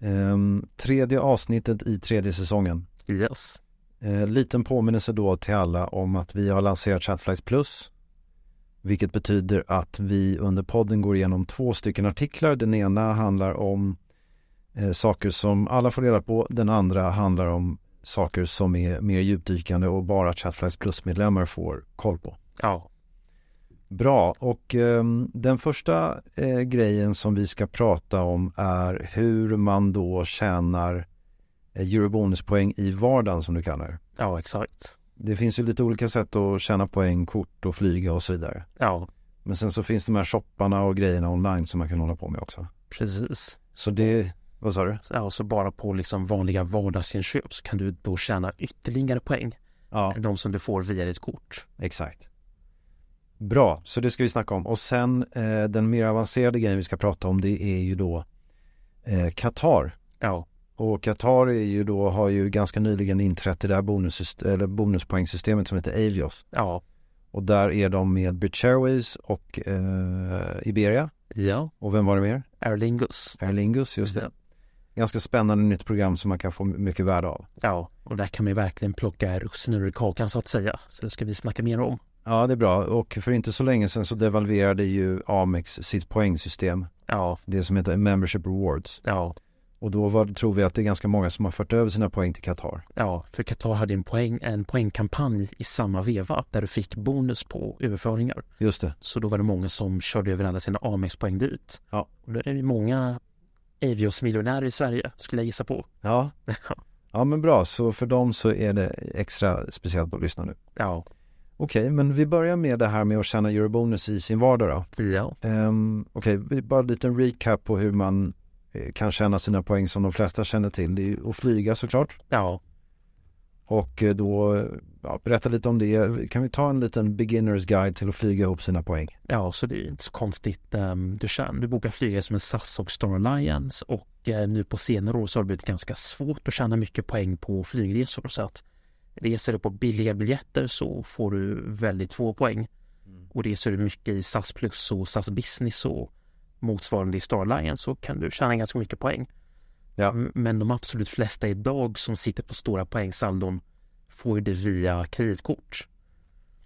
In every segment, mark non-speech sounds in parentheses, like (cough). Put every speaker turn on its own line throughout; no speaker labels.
Ehm, tredje avsnittet i tredje säsongen.
Yes.
Eh, liten påminnelse då till alla om att vi har lanserat Chatflies Plus. Vilket betyder att vi under podden går igenom två stycken artiklar. Den ena handlar om eh, saker som alla får reda på. Den andra handlar om saker som är mer djupdykande och bara Chatflies Plus-medlemmar får koll på.
Ja.
Bra, och ehm, den första eh, grejen som vi ska prata om är hur man då tjänar eh, eurobonuspoäng i vardagen som du kallar det.
Ja, exakt.
Det finns ju lite olika sätt att tjäna poäng, kort och flyga och så vidare.
Ja,
Men sen så finns de här shopparna och grejerna online som man kan hålla på med också.
precis.
Så det, vad sa du?
Så, ja, så bara på liksom vanliga vardagsinköp så kan du då tjäna ytterligare poäng.
Ja,
De som du får via ditt kort.
exakt. Bra, så det ska vi snacka om. Och sen eh, den mer avancerade grejen vi ska prata om det är ju då eh, Qatar.
Ja.
Och Qatar är ju då, har ju ganska nyligen inträtt i det här bonus, eller bonuspoängsystemet som heter Avios.
Ja.
Och där är de med British Airways och eh, Iberia.
Ja.
Och vem var det mer?
Aer Lingus.
Aer Lingus, just det.
Ja.
Ganska spännande nytt program som man kan få mycket värde av.
Ja, och där kan man ju verkligen plocka russinen ur kakan så att säga. Så det ska vi snacka mer om.
Ja, det är bra. Och för inte så länge sedan så devalverade ju Amex sitt poängsystem,
Ja.
det som heter Membership Rewards.
Ja.
Och då var, tror vi att det är ganska många som har fört över sina poäng till Qatar.
Ja, för Qatar hade en, poäng, en poängkampanj i samma veva där du fick bonus på överföringar.
Just det.
Så då var det många som körde över alla sina Amex-poäng dit.
Ja.
Och då är det ju många Avios-miljonärer i Sverige, skulle jag gissa på.
Ja. ja, men bra. Så för dem så är det extra speciellt att lyssna nu.
(laughs) ja.
Okej, men vi börjar med det här med att tjäna eurobonus i sin vardag då.
Ja.
Um, Okej, vi- bara en liten recap på hur man eh, kan tjäna sina poäng som de flesta känner till. Det är ju att flyga såklart.
Ja.
Och eh, då, eh, ja, berätta lite om det. Kan vi ta en liten beginners guide till att flyga ihop sina poäng?
Ja, så det är inte så konstigt. ehm, Du, tjänar, du bokar flygare som en SAS och Star Alliance och eh, nu på senare år så har det blivit ganska svårt att tjäna mycket poäng på flygresor så att reser du på billiga biljetter så får du väldigt få poäng. Och reser du mycket i SAS Plus och SAS Business och motsvarande i Star Alliance så kan du tjäna ganska mycket poäng.
Ja.
M- Men de absolut flesta idag som sitter på stora poängsaldon får ju det via kreditkort.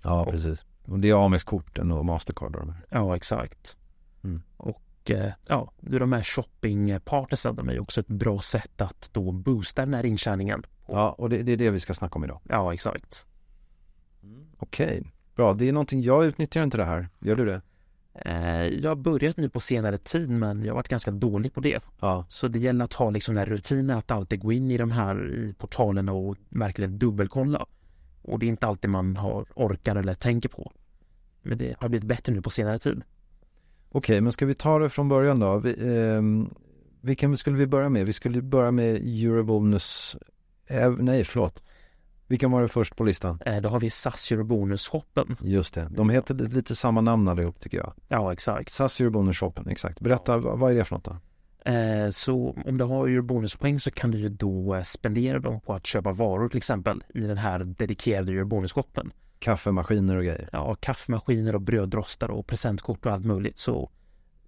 Ja,
Och-
precis. Och det är Amex-korten och Mastercard och de här.
Ja, exakt.
Mm.
Och eh, ja, nu de här shoppingpartnersen, de är ju också ett bra sätt att då boosta den här intjäningen.
Ja, och det, det är det vi ska snacka om idag.
Ja, exakt.
Okej, bra. Det är någonting, jag utnyttjar inte det här. Gör du det?
Eh, Jag har börjat nu på senare tid, men jag har varit ganska dålig på det.
Ja,
Så det gäller att ha liksom den här rutinen att alltid gå in i de här i portalerna och verkligen dubbelkolla. Och det är inte alltid man har orkar eller tänker på. Men det har blivit bättre nu på senare tid.
Okej, men ska vi ta det från början då? Vi, ehm, vilken skulle vi börja med? Vi skulle börja med Eurobonus... Eh, nej, förlåt. Vilken var det först på listan?
Eh, Då har vi SAS Eurobonus-shoppen.
Just det, de heter lite samma namn allihop tycker jag.
Ja, exakt.
SAS Eurobonus Shoppen, exakt. Berätta, v- vad är det för något då?
Eh, Så om du har eurobonuspoäng så kan du ju då eh, spendera dem på att köpa varor till exempel i den här dedikerade eurobonusshoppen.
Kaffemaskiner och grejer.
Ja, kaffemaskiner och brödrostar och presentkort och allt möjligt. Så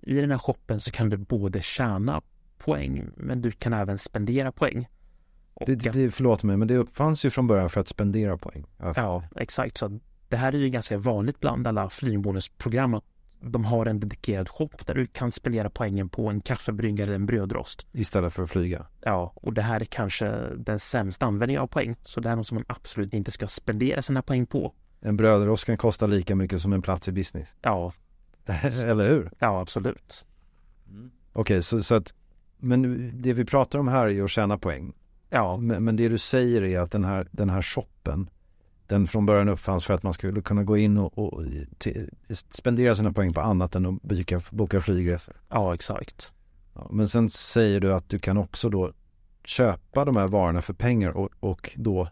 i den här shoppen så kan du både tjäna poäng men du kan även spendera poäng. Och
Det,
att-
det, förlåt mig, men det uppfanns ju från början för att spendera poäng. Ja.
Ja, exakt. Så att det här är ju ganska vanligt bland alla flygbonusprogram att de har en dedikerad shop där du kan spendera poängen på en kaffebryggare eller en brödrost.
Istället för att flyga.
Ja, och det här är kanske den sämsta användningen av poäng. Så det här är något som man absolut inte ska spendera sina poäng på.
En brödrost kan kosta lika mycket som en plats i business. (laughs)
Ja,
Eller hur?
ja absolut.
Okej, så, så att, men det vi pratar om här är ju att tjäna poäng.
Ja,
Men, men det du säger är att den här, den här shoppen, den från början uppfanns för att man skulle kunna gå in och, och till, spendera sina poäng på annat än att boka, boka flygresor.
ja exakt.
Ja, men sen säger du att du kan också då köpa de här varorna för pengar och, och då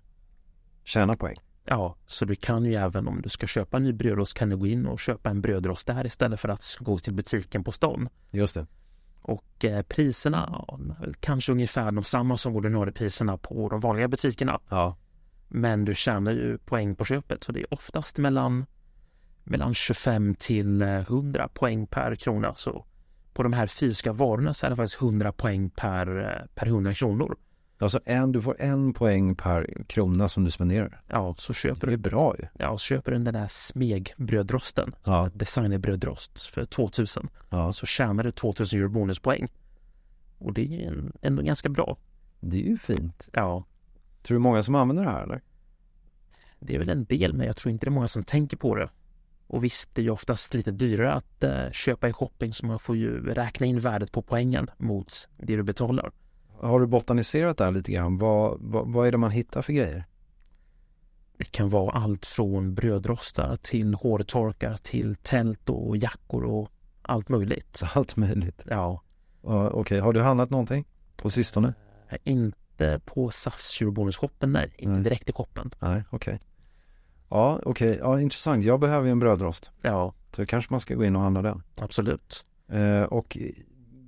tjäna poäng.
Ja, så du kan ju även om du ska köpa en ny brödrost kan du gå in och köpa en brödrost där istället för att gå till butiken på stan.
Just det.
Och eh, priserna, ja, de är väl kanske ungefär de samma som ordinarie priserna på de vanliga butikerna.
Ja.
Men du tjänar ju poäng på köpet så det är oftast mellan, mellan 25 till eh, 100 poäng per krona. Så på de här fysiska varorna så är det faktiskt 100 poäng per, eh, per 100 kronor.
Alltså en, du får en poäng per krona som du spenderar.
Ja, så köper
Det är
du,
bra ju.
ja, så köper du den där smegbrödrosten,
Ja.
designerbrödrost för 2000.
ja.
Så tjänar du 2000 euro bonuspoäng. Och det är en- ändå ganska bra.
Det är ju fint.
Ja,
Tror du många som använder det här eller?
Det är väl en del, men jag tror inte det är många som tänker på det. Och visst, det är ju oftast lite dyrare att eh, köpa i shopping så man får ju räkna in värdet på poängen mot det du betalar.
Har du botaniserat det här lite grann? Vad, vad, vad är det man hittar för grejer?
Det kan vara allt från brödrostar till hårtorkar till tält och jackor och allt möjligt.
Så allt möjligt.
Ja,
Ja, Okej, har du handlat någonting på sistone?
inte på SAS Eurobonus-shoppen, nej. Inte
Nej.
direkt i shoppen.
Nej, okej. Ja, okej. Ja, intressant. Jag behöver ju en brödrost.
Ja,
Så kanske man ska gå in och handla den.
absolut.
Eh, och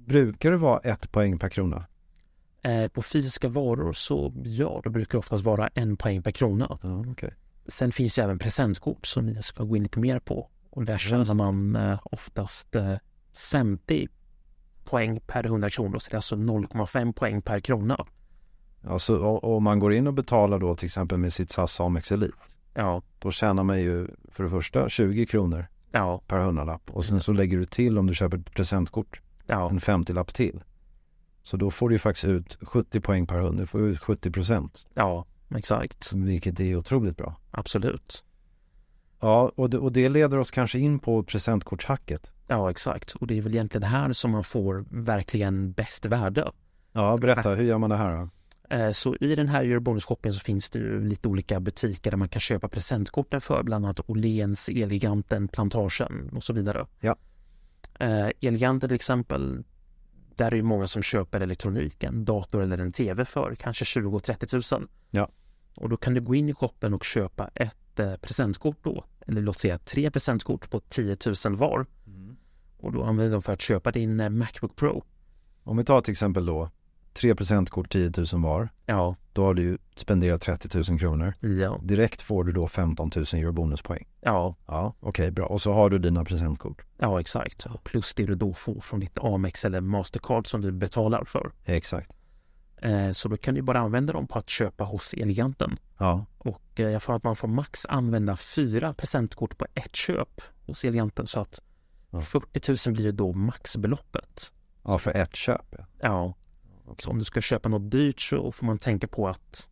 brukar det vara ett poäng per krona?
Eh, på fysiska varor så, ja, det brukar oftast vara en poäng per krona.
Ja, okej.
Sen finns ju även presentkort som ni ska gå in lite mer på. Och där tjänar man eh, oftast eh, 50 poäng per 100 kronor. Så det är alltså 0,5 poäng per krona.
Ja, så o- om man går in och betalar då till exempel med sitt SAS Amex Elite.
Ja,
Då tjänar man ju för det första 20 kronor
ja,
per hundralapp. Och sen så lägger du till om du köper ett presentkort.
ja,
en 50-lapp till. Så då får du ju faktiskt ut 70 poäng per hund. Du får ut 70 procent,
ja, exakt.
vilket är otroligt bra.
Absolut.
Ja, och det, och det leder oss kanske in på presentkortshacket.
Ja, exakt. Och det är väl egentligen här som man får verkligen bäst värde.
Ja, berätta, hur gör man det här då?
Eh, Så i den här Eurobonus-shoppen så finns det ju lite olika butiker där man kan köpa presentkorten för bland annat Åhléns, Elgiganten, Plantagen och så vidare.
Ja.
Eh, Elgiganten till exempel, där är det ju många som köper elektronik, en dator eller en tv för kanske 20-30 000.
Ja.
Och då kan du gå in i shoppen och köpa ett eh, presentkort då, eller låt säga tre presentkort på 10 000 var.
Mm.
Och då använder de för att köpa din eh, Macbook Pro.
Om vi tar till exempel då 3 presentkort 10 000 var.
Ja,
Då har du ju spenderat 30 000 kronor.
ja,
Direkt får du då 15 000 euro bonuspoäng.
ja.
Ja, okej, bra. Och så har du dina presentkort.
Ja, exakt. Och Plus det du då får från ditt Amex eller Mastercard som du betalar för.
Exakt.
Eh, Så då kan du bara använda dem på att köpa hos Eleganten.
Ja,
Och eh, jag får att man får max använda fyra presentkort på ett köp hos Eleganten. Så att
Ja.
40 000 blir ju då maxbeloppet.
ja för ett köp. ja.
Ja. Så om du ska köpa något dyrt så får man tänka på att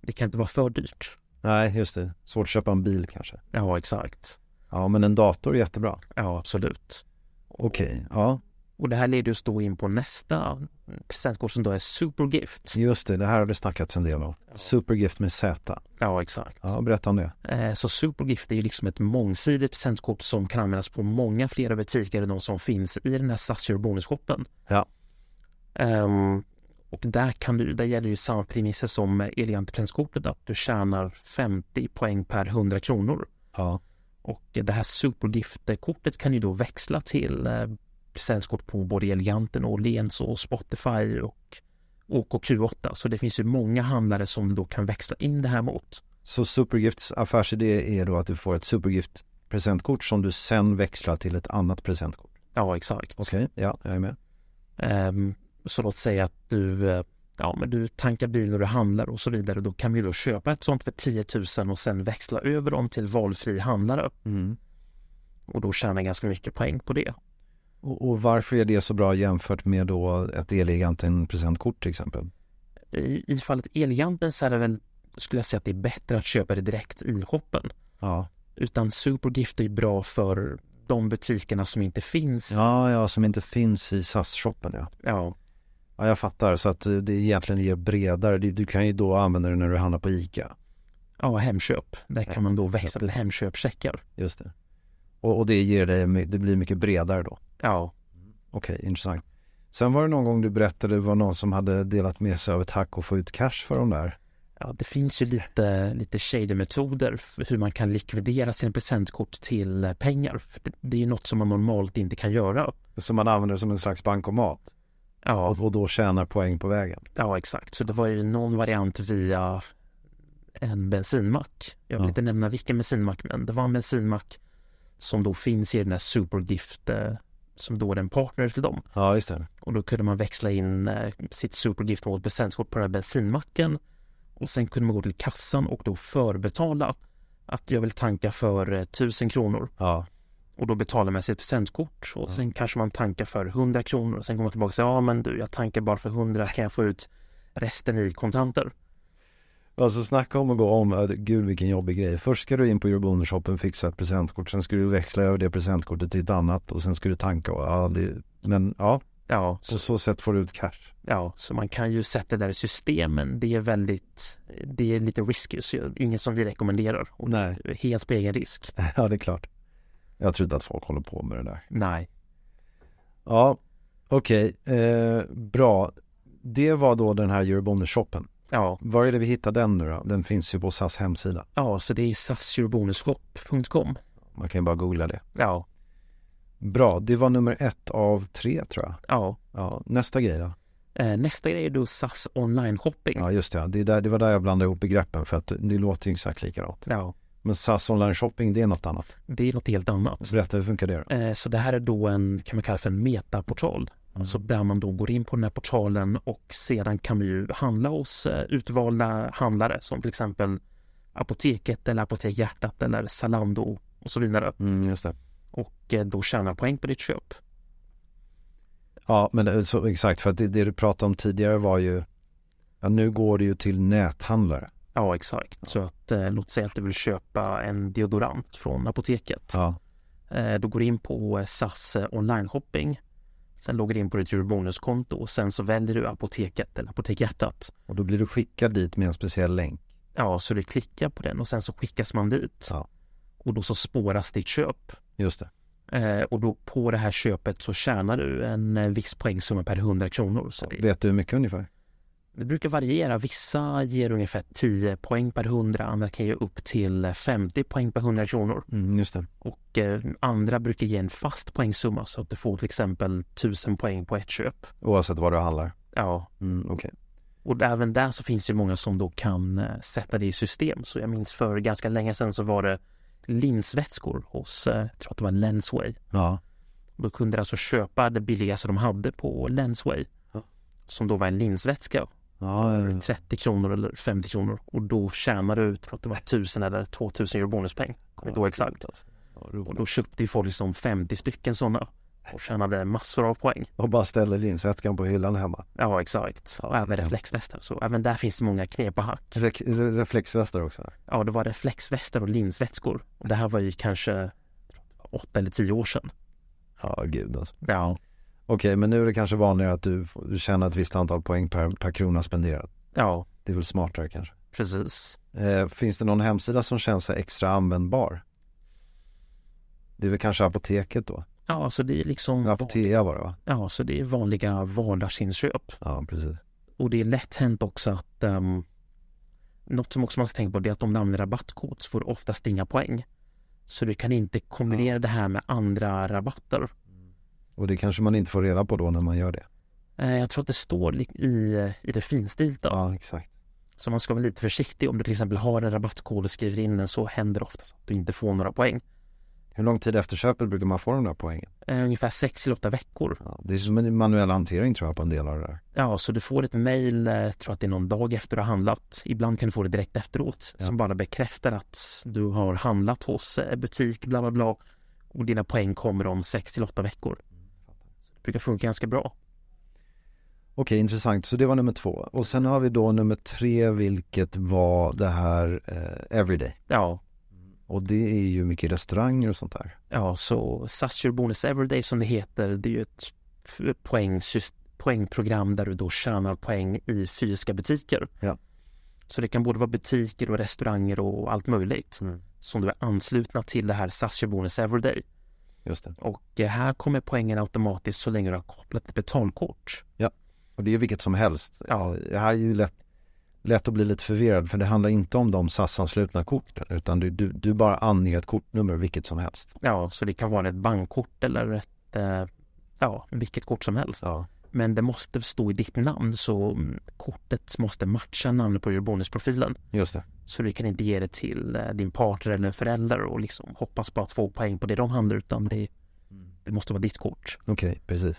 det kan inte vara för dyrt.
Nej, just det. Svårt att köpa en bil kanske.
Ja, exakt.
Ja, men en dator är jättebra.
Ja, absolut.
Okej, ja.
Och det här leder oss då in på nästa presentkort som då är Supergift.
Just det, det här har det snackats en del om. Supergift med Z.
Ja, exakt.
Ja, berätta om det.
Eh, Så Supergift är ju liksom ett mångsidigt presentkort som kan användas på många flera butiker än de som finns i den här SAS Eurobonus-shoppen.
Ja.
Ehm, Och där, kan du, där gäller ju samma premisser som Elegantreprenörskortet att du tjänar 50 poäng per 100 kronor.
Ja.
Och det här supergift-kortet kan ju då växla till eh, presentkort på både Eleganten, Åhléns och Spotify och OKQ8. Så det finns ju många handlare som då kan växla in det här mot.
Så Supergifts affärsidé är då att du får ett Supergift presentkort som du sen växlar till ett annat presentkort.
Ja, exakt.
Okej, ja, jag är med.
Ehm, så låt säga att du, eh, ja, men du tankar bil när du handlar och så vidare. Då kan vi då köpa ett sånt för 10 000 och sen växla över dem till valfri handlare och då tjäna ganska mycket poäng på det.
Och, och varför är det så bra jämfört med då ett eleganten presentkort till exempel?
I, i fallet Elgiganten så är det väl, skulle jag säga att det är bättre att köpa det direkt i shoppen.
Ja.
Utan Supergift är ju bra för de butikerna som inte finns.
ja, ja, som inte finns i SAS-shoppen ja.
Ja,
Ja, jag fattar. Så att eh, det egentligen ger bredare. Du, du kan ju då använda det när du handlar på ICA.
ja Hemköp. Där kan man då växla till Hemköpcheckar.
Just det. Och, och det ger dig, my- det blir mycket bredare då.
Ja,
Okej, intressant. Sen var det någon gång du berättade det var någon som hade delat med sig av ett hack och få ut cash för de där.
ja det finns ju lite, lite shady metoder för hur man kan likvidera sina presentkort till eh, pengar. För det, det är ju något som man normalt inte kan göra.
Som man använder som en slags bankomat.
Ja,
Och, och då tjänar poäng på vägen.
ja exakt. Så det var ju någon variant via en bensinmack. Jag vill
Ja.
inte nämna vilken bensinmack, men det var en bensinmack som då finns i den här Supergift eh, som då är en partner till dem.
Ja, just det.
Och då kunde man växla in eh, sitt supergift mot presentkort på den här bensinmacken. Och sen kunde man gå till kassan och då förbetala att jag vill tanka för eh, 1000 kronor.
Ja,
Och då betalar man sitt presentkort och sen kanske man tankar för 100 kronor. Och sen kommer man tillbaka och säger, ja men du jag tankar bara för 100, kan jag få ut resten i kontanter?
Alltså snacka om att gå om, Äh, gud vilken jobbig grej. Först ska du in på Eurobonusshoppen, fixa ett presentkort, sen ska du växla över det presentkortet till ett annat och sen ska du tanka och ja, det, men ja,
Ja,
på
så,
så sätt får du ut cash.
ja, så man kan ju sätta det där i systemen. Det är väldigt, det är lite risky, så ingen som vi rekommenderar. Och
Nej.
Helt på egen risk.
(laughs) Ja, det är klart. Jag tror inte att folk håller på med det där.
Nej.
Ja, okej, eh, bra. Det var då den här Eurobonus-shoppen.
Ja,
Var är det vi hittar den nu då? Den finns ju på SAS hemsida.
Ja, så det är sassurebonusshop.com.
Man kan ju bara googla det.
Ja,
Bra, det var nummer ett av tre tror jag.
ja.
Ja, nästa grej då.
Eh, Nästa grej är då SAS online shopping. Ja.
Ja, just det. ja. Det, är där, det var där jag blandade ihop begreppen för att det låter ju exakt likadant. Men SAS online shopping, det är något annat.
det är något helt annat.
Berätta, hur funkar det då?
Eh, Så det här är då en, kan man kalla för en metaportal. Alltså där man då går in på den här portalen och sedan kan man ju handla hos eh, utvalda handlare som till exempel Apoteket eller Apotek Hjärtat eller Zalando och så vidare.
Mm, just det.
Och eh, då tjänar poäng på ditt köp.
Ja, men det- så, exakt, för att det, det du pratade om tidigare var ju, ja, nu går det ju till näthandlare.
Ja, exakt. Så att eh, låt säga att du vill köpa en deodorant från Apoteket.
Ja,
Eh, Då går du in på eh, SAS eh, online shopping. Sen loggar du in på ditt Eurobonuskonto och sen så väljer du apoteket eller Apotek Hjärtat.
och då blir du skickad dit med en speciell länk.
Ja, så du klickar på den och sen så skickas man dit.
Ja.
Och då så spåras ditt köp.
Just det.
Eh, och då på det här köpet så tjänar du en eh, viss poängsumma per 100 kronor. Så det,
Vet du hur mycket ungefär?
det brukar variera. Vissa ger ungefär 10 poäng per 100, andra kan ge upp till eh, 50 poäng per 100 kronor.
Mm, just det.
Och eh, andra brukar ge en fast poängsumma så att du får till exempel 1000 poäng på ett köp.
Oavsett vad du handlar.
Ja,
Mm, Okej.
Och även där så finns det många som då kan eh, sätta det i system. Så jag minns för ganska länge sedan så var det linsvätskor hos, eh, jag tror att det var Lensway.
Ja.
Då kunde du alltså köpa det billigaste de hade på Lensway.
Ja.
Som då var en linsvätska.
Ja, eh,
30 kronor eller 50 kronor. Och då tjänade du, jag tror att det var 1000 eller 2000 euro bonuspeng. Kommer inte ihåg exakt. Och då köpte ju folk liksom 50 stycken sådana. Och tjänade massor av poäng.
och bara ställer linsvätskan på hyllan hemma.
Ja, exakt. Och även reflexvästar. Så även där finns det många knep och hack.
Re- re- reflexvästar också.
ja, det var reflexvästar och linsvätskor. Och det här var ju kanske åtta eller tio år sedan.
Ja, gud alltså.
Ja.
Okej, men nu är det kanske vanligare att du får- du tjänar ett visst antal poäng per, per krona spenderad.
Ja,
Det är väl smartare kanske.
precis.
Eh, finns det någon hemsida som känns så här extra användbar? Det är väl kanske apoteket då?
Ja, så det är liksom
Apotea var det va?
ja, så det är vanliga vardagsinköp.
Ja, precis.
Och det är lätt hänt också att um, något som också man ska tänka på det är att om du använder rabattkod så får du oftast inga poäng. Så du kan inte kombinera det här med andra rabatter.
Och det kanske man inte får reda på då när man gör det.
Eh, Jag tror att det står li- i, i det finstilta.
Ja, exakt.
Så man ska vara lite försiktig om du till exempel har en rabattkod och skriver in den så händer det oftast att du inte får några poäng.
Hur lång tid efter köpet brukar man få de där poängen?
Eh, Ungefär 6 till 8 veckor.
Ja, det är som en manuell hantering tror jag på en del av det där.
Ja, så du får ett mejl, eh, tror att det är någon dag efter du har handlat. Ibland kan du få det direkt efteråt
Ja.
som bara bekräftar att du har handlat hos eh, butik, bla bla bla. Och dina poäng kommer om 6 till 8 veckor. Så det brukar funka ganska bra.
Okej, intressant. Så det var nummer två. Och sen har vi då nummer tre, vilket var det här eh, Everyday.
Ja,
Och det är ju mycket restauranger och sånt där.
ja så SAS Your Bonus Everyday som det heter, det är ju ett f- poängsys- poängprogram där du då tjänar poäng i fysiska butiker.
Ja.
Så det kan både vara butiker och restauranger och allt möjligt
Mm.
som du är anslutna till det här SAS Your Bonus Everyday.
Just det.
Och eh, här kommer poängen automatiskt så länge du har kopplat ett betalkort.
Och det är ju vilket som helst.
Ja.
Det här är ju lätt, lätt att bli lite förvirrad för det handlar inte om de SAS-anslutna korten utan du, du, du bara anger ett kortnummer, vilket som helst.
Ja, så det kan vara ett bankkort eller ett, eh, ja, vilket kort som helst.
Ja.
Men det måste stå i ditt namn så mm, kortet måste matcha namnet på your bonusprofilen.
Just det.
Så du kan inte ge det till eh, din partner eller en förälder och liksom hoppas på att få poäng på det de handlar utan det, det måste vara ditt kort.
Okej, precis.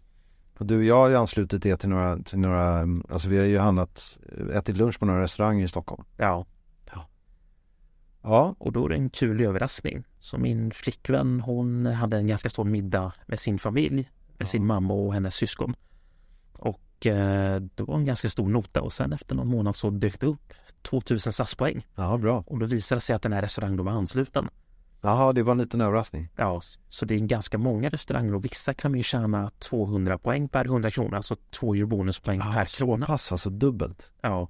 Och du och jag har ju anslutit det till några, till några, mm, alltså vi har ju handlat, ätit lunch på några restauranger i Stockholm.
Ja,
Ja,
och då är det en kul överraskning. Så min flickvän hon hade en ganska stor middag med sin familj, med sin mamma och hennes syskon. Och eh, det var en ganska stor nota och sen efter någon månad så dök det upp 2000 SAS-poäng.
ja bra.
Och då visade det sig att den här restaurangen då var ansluten.
Jaha, det var en liten överraskning.
Ja, så det är ganska många restauranger och vissa kan ju tjäna 200 poäng per 100 kronor, alltså två euro bonuspoäng per krona.
Pass alltså dubbelt.
Ja.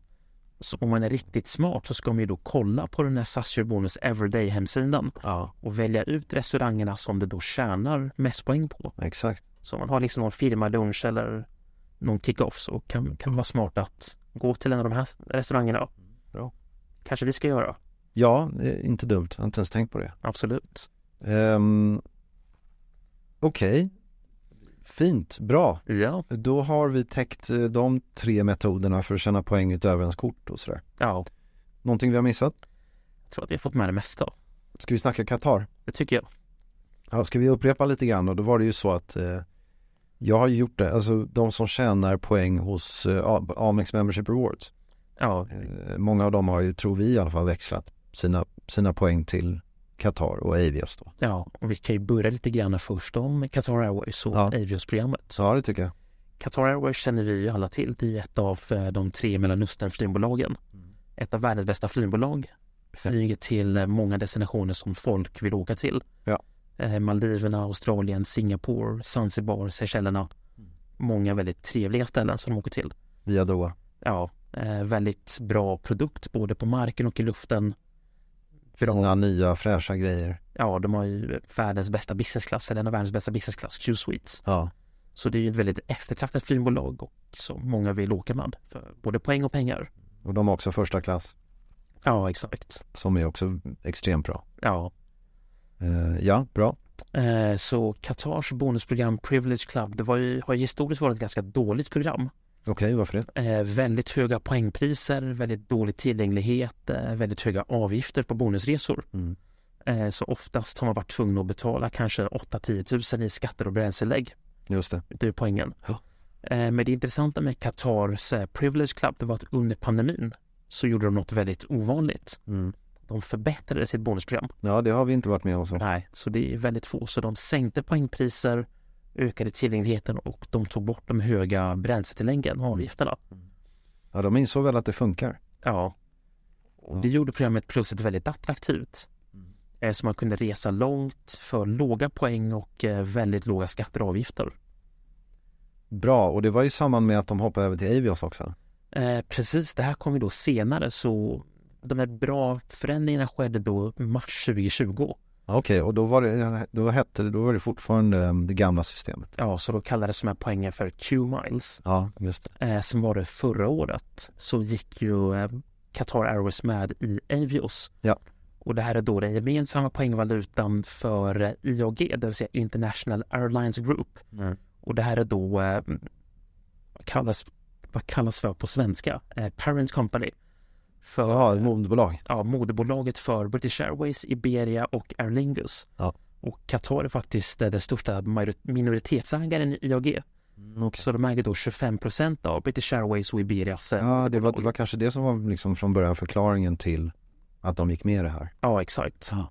Så om man är riktigt smart så ska man ju då kolla på den här SAS Your Bonus Everyday hemsidan
Ja.
och välja ut restaurangerna som det då tjänar mest poäng på.
Exakt.
Så om man har liksom någon firmalunch eller någon kick-off så kan, kan det vara smart att gå till en av de här restaurangerna.
Bra.
Kanske vi ska göra.
Ja, det är inte dumt. Jag har inte ens tänkt på det.
Absolut.
Ehm, Okej. Fint, bra.
Ja.
Då har vi täckt eh, de tre metoderna för att tjäna poäng utöver ens kort och sådär.
Ja,
Någonting vi har missat?
jag tror att vi har fått med det mesta.
Ska vi snacka Qatar?
Det tycker jag.
Ja, ska vi upprepa lite grann och då var det ju så att eh, jag har gjort det, alltså de som tjänar poäng hos eh, A- Amex Membership Rewards.
Ja,
Eh, Många av dem har ju, tror vi i alla fall, växlat sina, sina poäng till Qatar och Avios då.
ja, och vi kan ju börja lite grann först om Qatar Airways och
Ja.
Avios-programmet.
Ja, det tycker jag.
Qatar Airways känner vi ju alla till. Det är ju ett av eh, de tre Mellanöstern-flygbolagen.
Mm.
Ett av världens bästa flygbolag. Flyger till eh, många destinationer som folk vill åka till.
Ja.
Eh, Maldiverna, Australien, Singapore, Zanzibar, Seychellerna.
Mm.
Många väldigt trevliga ställen som de åker till.
Via Doha.
Ja, eh, väldigt bra produkt både på marken och i luften.
Många nya fräscha grejer.
Ja, de har ju världens bästa businessklass, eller en av världens bästa businessklass, Q-Suites.
Ja.
Så det är ju ett väldigt eftertraktat flygbolag och som många vill åka med för både poäng och pengar.
Och de har också första klass
Ja, exakt.
som är också extremt bra.
Ja.
Eh, ja, bra.
Eh, Så Qatars bonusprogram Privilege Club, det var ju, har ju historiskt varit ett ganska dåligt program.
Okej, varför det?
Eh, Väldigt höga poängpriser, väldigt dålig tillgänglighet, eh, väldigt höga avgifter på bonusresor.
Mm.
Eh, Så oftast har man varit tvungen att betala kanske 8-10 tusen i skatter och bränslelägg.
Just det.
Det är poängen.
Ja.
Eh, Men det intressanta med Qatars eh, Privilege Club det var att under pandemin så gjorde de något väldigt ovanligt.
Mm.
De förbättrade sitt bonusprogram.
Ja, det har vi inte varit med om så.
Nej. Så det är väldigt få. Så de sänkte poängpriser, ökade tillgängligheten och de tog bort de höga bränsletilläggen och avgifterna.
Ja, de insåg väl att det funkar.
Ja. Och det gjorde programmet Plusset väldigt attraktivt.
Mm.
Eh, Så man kunde resa långt för låga poäng och eh, väldigt låga skatter och avgifter.
Bra, och det var i samband med att de hoppade över till Avios också.
Eh, precis, det här kom ju då senare så de här bra förändringarna skedde då mars 2020
Ja, Okej, och då var, det, då, hette det, då var det fortfarande eh, det gamla systemet?
Ja, så då kallades de här poängen för Q-miles.
Ja, just det.
Eh, sen var det förra året så gick ju eh, Qatar Airways med i Avios.
Ja.
Och det här är då den gemensamma poängvalutan för eh, IAG, det vill säga International Airlines Group. Och det här är då eh, vad kallas, vad kallas för på svenska? Eh, parent Company. För,
Ja, ett moderbolag.
ja, moderbolaget för British Airways, Iberia och Aer Lingus.
Ja.
Och Qatar är faktiskt eh, den största majori- minoritetsägaren i IAG.
Mm,
Så de äger då 25 procent av British Airways och Iberias. eh,
Ja, det var, det
bolag.
var kanske det som var liksom från början förklaringen till att de gick med i det här.
ja exakt.
Ja.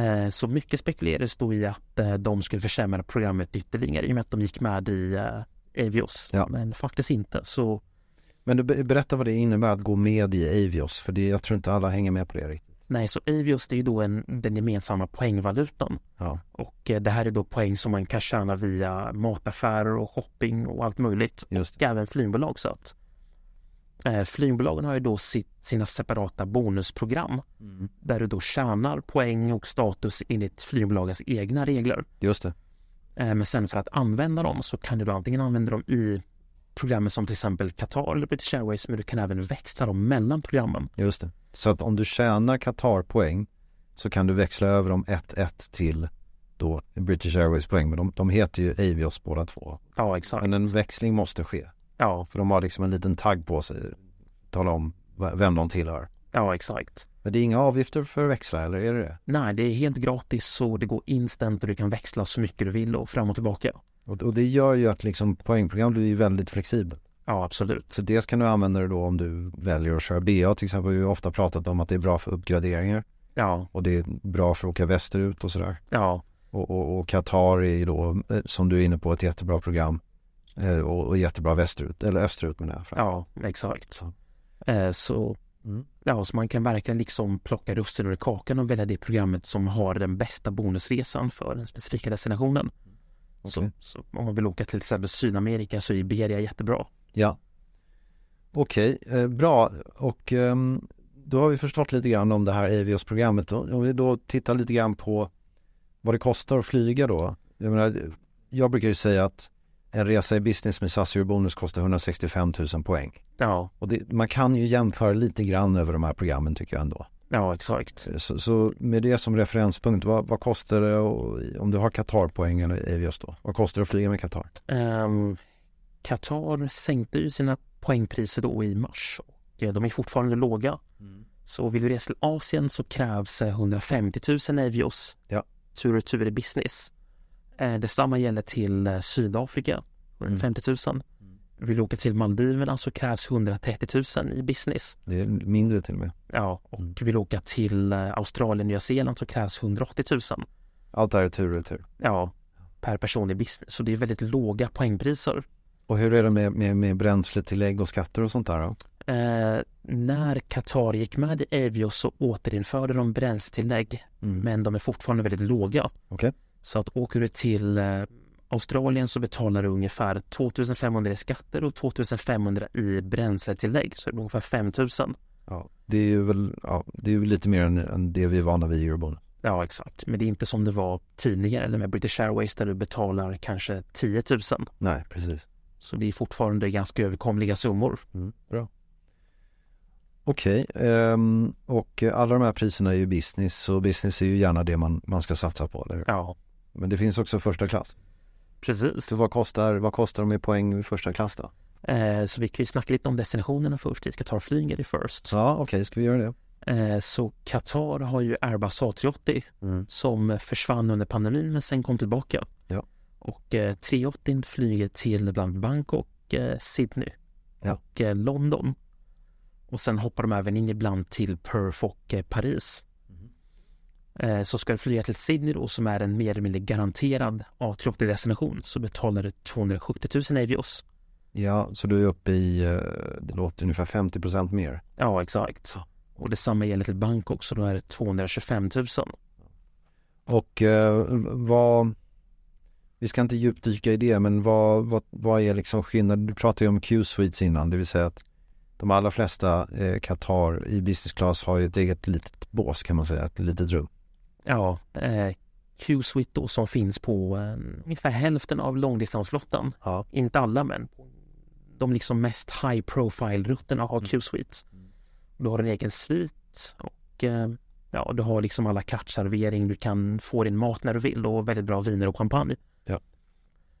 Eh, Så mycket spekulerades då i att eh, de skulle försämra programmet ytterligare i och med att de gick med i eh, Avios.
Ja.
Men faktiskt inte. Så
Men du, be- berätta vad det innebär att gå med i Avios, för det, jag tror inte alla hänger med på det riktigt.
nej, så Avios det är ju då en, den gemensamma poängvalutan.
Ja,
Och eh, det här är då poäng som man kan tjäna via mataffärer och shopping och allt möjligt.
just
och även flygbolag. Så att, eh, flygbolagen har ju då sitt, sina separata bonusprogram där du då tjänar poäng och status enligt flygbolagens egna regler.
det. Just det.
Eh, men sen för att använda dem så kan du då antingen använda dem i programmen som till exempel Qatar eller British Airways men du kan även växla dem mellan programmen.
Just det. Så att om du tjänar Qatar-poäng så kan du växla över dem 1-1 till då British Airways poäng. Men de, de heter ju Avios båda två.
Ja, exakt.
Men en växling måste ske.
Ja,
För de har liksom en liten tagg på sig. Tala om v- vem de tillhör.
ja exakt.
Men det är inga avgifter för att växla, eller är det det?
Nej, det är helt gratis så det går instant och du kan växla så mycket du vill och fram och tillbaka.
Och, och det gör ju att liksom poängprogram blir ju väldigt flexibelt.
Ja, absolut.
Så dels kan du använda det då om du väljer att köra BA till exempel. Vi har ju ofta pratat om att det är bra för uppgraderingar
Ja,
och det är bra för att åka västerut och sådär.
ja,
Och, och, och Qatar är ju då, eh, som du är inne på, ett jättebra program eh, och, och jättebra västerut, eller österut menar jag.
ja, exakt.
Ja.
Eh, så
Mm.
Ja, så man kan verkligen liksom plocka russinen ur kakan och välja det programmet som har den bästa bonusresan för den specifika destinationen. Så,
Okej.
så om man vill åka till exempel Sydamerika så är Iberia jättebra.
Ja. Okej, eh, bra. Och ehm, då har vi förstått lite grann om det här Avios-programmet. Om om vi då tittar lite grann på vad det kostar att flyga då. Jag, menar, jag brukar ju säga att en resa i business med SAS Eurobonus kostar 165 000 poäng.
Ja,
Och det, man kan ju jämföra lite grann över de här programmen tycker jag ändå.
ja exakt.
Så, så med det som referenspunkt, vad, vad kostar det att- om du har Qatar-poäng eller Avios då? Vad kostar det att flyga med Qatar?
Ehm, Qatar sänkte ju sina poängpriser då i mars och eh, de är fortfarande låga. Så vill du resa till Asien så krävs eh, 150 000 Avios
Ja.
tur och tur i business. Eh, Detsamma gäller till eh, Sydafrika, 150 000. Vill du åka till Maldiverna så krävs 130 000 i business.
Det är mindre till och med.
Ja, och vill du åka till eh, Australien, Nya Zeeland så krävs 180 000
Allt det här är tur och retur.
ja, per person i business. Så det är väldigt låga poängpriser.
Och hur är det med, med, med bränsletillägg och skatter och sånt där då?
Eh, när Qatar gick med i Avios så återinförde de bränsletillägg
Mm.
men de är fortfarande väldigt låga.
Okej.
Så att åker du till eh, Australien så betalar du ungefär 2500 i skatter och 2500 i bränsletillägg. Så det blir ungefär 5000.
Ja. Det är ju väl, ja, det är ju lite mer än, än det vi är vana vid i Eurobonus.
Ja, exakt. Men det är inte som det var tidigare eller med British Airways där du betalar kanske 10 000.
Nej, precis.
Så det är fortfarande ganska överkomliga summor.
Bra. Okej, ehm, och alla de här priserna är ju business och business är ju gärna det man, man ska satsa på, eller hur?
Ja,
Men det finns också första klass.
precis.
Så vad kostar, vad kostar de i poäng i första klass då?
Eh, så vi kan ju snacka lite om destinationerna först. Vi ska ta flyger i först.
Ja, okej, ska vi göra det?
Eh, Så Qatar har ju Airbus A380
Mm.
som försvann under pandemin men sen kom tillbaka.
Ja.
Och eh, 380 flyger till bland Bangkok, eh, Sydney
Ja.
och eh, London. Och sen hoppar de även in ibland till Perth och eh, Paris.
Mm.
Eh, Så ska du flyga till Sydney då som är en mer eller mindre garanterad A380 destination så betalar du 270 000 Avios.
Ja, så du är uppe i, eh, det låter ungefär 50% mer.
Ja exakt. Och detsamma gäller till Bangkok så då är det 225 000.
Och eh, vad, vi ska inte djupdyka i det, men vad, vad, vad är liksom skillnaden? Du pratade ju om Q-suites innan, det vill säga att de allra flesta eh, Qatar i business class har ju ett eget litet bås kan man säga, ett litet rum.
Ja, eh, Q-Suite då som finns på eh, ungefär hälften av långdistansflottan.
Ja.
Inte alla, men de liksom mest high profile-rutterna har
Mm.
Q-Suite. Du har en egen svit och eh, ja, du har liksom alla kartservering. Du kan få din mat när du vill och väldigt bra viner och champagne.
Ja.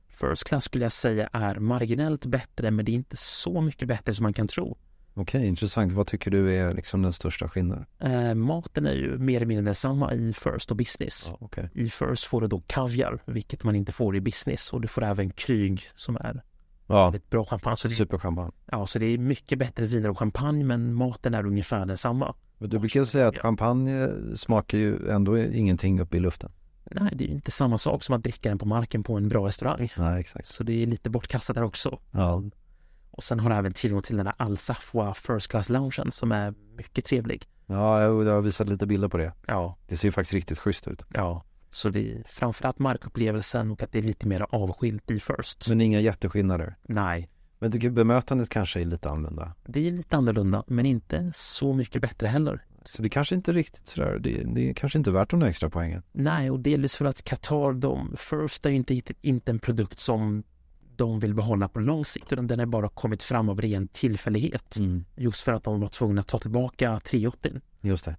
First class skulle jag säga är marginellt bättre, men det är inte så mycket bättre som man kan tro.
Okej, intressant. Vad tycker du är liksom den största skillnaden?
Eh, maten är ju mer eller mindre densamma i First och Business.
Ja, okej.
I First får du då kaviar, vilket man inte får i Business. Och du får även Kryg som är
Ja,
väldigt bra champagne. Så det,
superchampagne.
ja, så det är mycket bättre viner och champagne, men maten är ungefär densamma.
Men du brukar säga att
Ja.
champagne eh, smakar ju ändå ingenting uppe i luften.
Nej, det är ju inte samma sak som att dricka den på marken på en bra restaurang.
Nej, exakt.
Så det är lite bortkastat där också.
Ja,
Och sen har du även tillgång till den här Alsafwa First Class-loungen som är mycket trevlig.
ja jag jag har visat lite bilder på det.
Ja,
Det ser ju faktiskt riktigt schysst ut.
ja. Så det är framförallt markupplevelsen och att det är lite mer avskilt i First.
Men inga jätteskillnader.
Nej.
Men tycker bemötandet kanske är lite annorlunda.
Det är lite annorlunda, men inte så mycket bättre heller.
Så det kanske inte riktigt sådär, det, det är kanske inte värt de där extra poängen.
Nej, och delvis för att Qatar, de, First är ju inte, inte en produkt som de vill behålla på lång sikt, utan den har bara kommit fram av ren tillfällighet. Just för att de var tvungna att ta tillbaka 380.
Just det.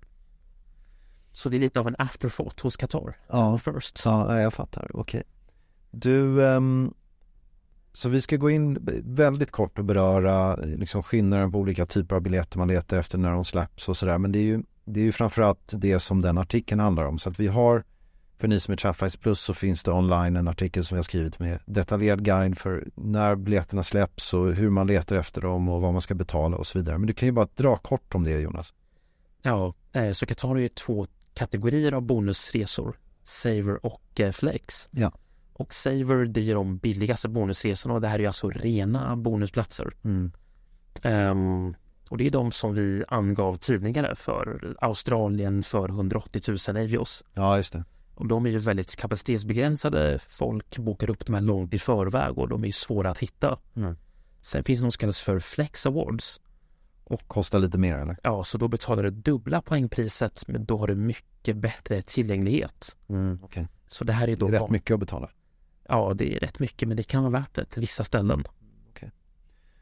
Så det är lite av en afterthought hos Qatar.
Ja,
First.
Ja, nej, jag fattar. Okej. Du, ehm, så vi ska gå in väldigt kort och beröra eh, liksom skillnaden på olika typer av biljetter man letar efter när de släpps och sådär. Men det är ju, det är ju framförallt det som den artikeln handlar om. Så att vi har, för ni som är Chatflies Plus så finns det online en artikel som vi har skrivit med detaljerad guide för när biljetterna släpps och hur man letar efter dem och vad man ska betala och så vidare. Men du kan ju bara dra kort om det Jonas.
Ja, eh, så Qatar har ju två kategorier av bonusresor. Saver och eh, Flex.
Ja.
Och Saver, det är ju de billigaste bonusresorna och det här är ju alltså rena bonusplatser. Ehm, och det är de som vi angav tidigare för Australien för 180 000 avios.
Ja, just det.
Och de är ju väldigt kapacitetsbegränsade. Folk bokar upp dem här långt i förväg och de är ju svåra att hitta. Sen finns det något som kallas för Flex Awards.
Kostar lite mer eller?
Ja, så då betalar du dubbla poängpriset men då har du mycket bättre tillgänglighet.
Mm.
Så det här är
Det
då...
är rätt mycket att betala.
Ja, det är rätt mycket men det kan vara värt det till vissa ställen.
Mm.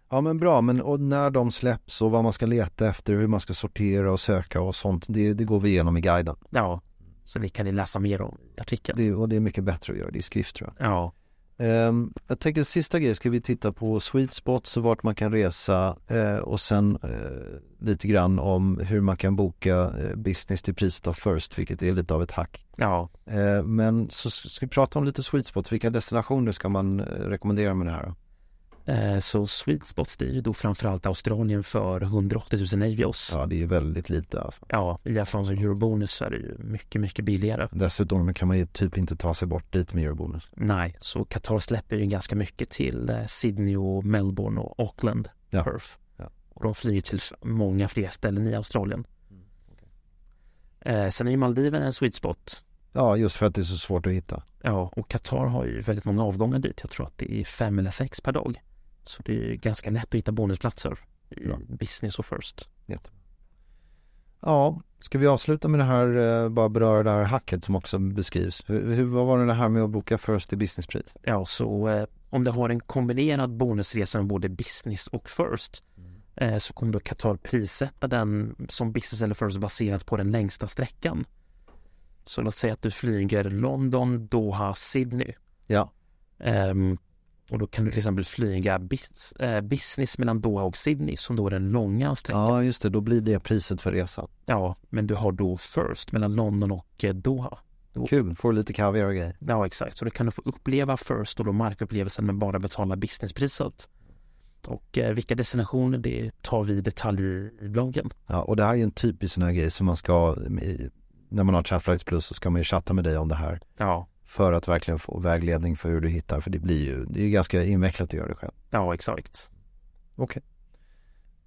Ja men bra, men och när de släpps och vad man ska leta efter, hur man ska sortera och söka och sånt, det, det går vi igenom i guiden.
Ja, så det kan ni läsa mer om i artikeln.
Det, och det är mycket bättre att göra det i skrift tror jag.
Ja,
Ehm, jag tänker sista grejen ska vi titta på sweet spots och vart man kan resa eh, och sen eh, lite grann om hur man kan boka eh, business till priset av first, vilket är lite av ett hack.
ja,
Eh, men så s- ska vi prata om lite sweet spots, vilka destinationer ska man eh, rekommendera med det här? Då?
Eh, Så sweet spots det är ju då framförallt Australien för 180 000 avios. Ja.
Ja, det är väldigt lite alltså.
i jämförelse med eurobonus så är det ju mycket, mycket billigare.
Dessutom kan man ju typ inte ta sig bort dit med eurobonus.
Nej, så Qatar släpper ju ganska mycket till eh, Sydney och Melbourne och Auckland,
Ja.
Perth.
Ja.
Och de flyger till f- många fler ställen i Australien.
Mm,
Eh, Sen är ju Maldiverna en sweet spot.
Ja, just för att det är så svårt att hitta.
Ja, och Qatar har ju väldigt många avgångar dit. Jag tror att det är fem eller sex per dag. Så det är ju ganska lätt att hitta bonusplatser i
Ja.
business och first.
Ja, ska vi avsluta med det här, eh, bara beröra det här hacket som också beskrivs. Hur, hur, vad var det här med att boka First i businesspris?
Ja, så eh, om du har en kombinerad bonusresa med både business och first eh, så kommer då Qatar prissätta den som business eller first baserat på den längsta sträckan. Så låt säga att du flyger London, Doha, Sydney.
Ja.
Ehm, och då kan du till exempel flyga bis, eh, business mellan Doha och Sydney som då är den långa sträckan.
Ja, just det, då blir det priset för resan.
Ja, men du har då first mellan London och eh, Doha. Då-
Kul, får lite kaviar och grejer.
Ja, exakt. Så du kan du få uppleva first och då markupplevelsen men bara betala businesspriset. Och eh, vilka destinationer det tar vi i detalj i, i bloggen.
Ja, och det här är ju en typisk sån här grej som man ska, i- när man har Chatflights Plus så ska man ju chatta med dig om det här.
Ja,
För att verkligen få vägledning för hur du hittar, för det blir ju, det är ju ganska invecklat att göra det själv.
ja exakt.
Okej.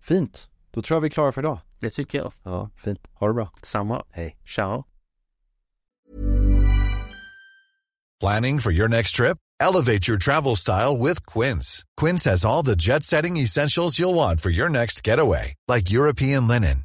Fint, då tror jag vi är klara för idag.
Det tycker jag.
Ja, fint. Ha det bra.
Samma.
Hej.
Ciao.
Planning for your next trip? Elevate your travel style with Quince. Quince has all the jet setting essentials you'll want for your next getaway, like European linen,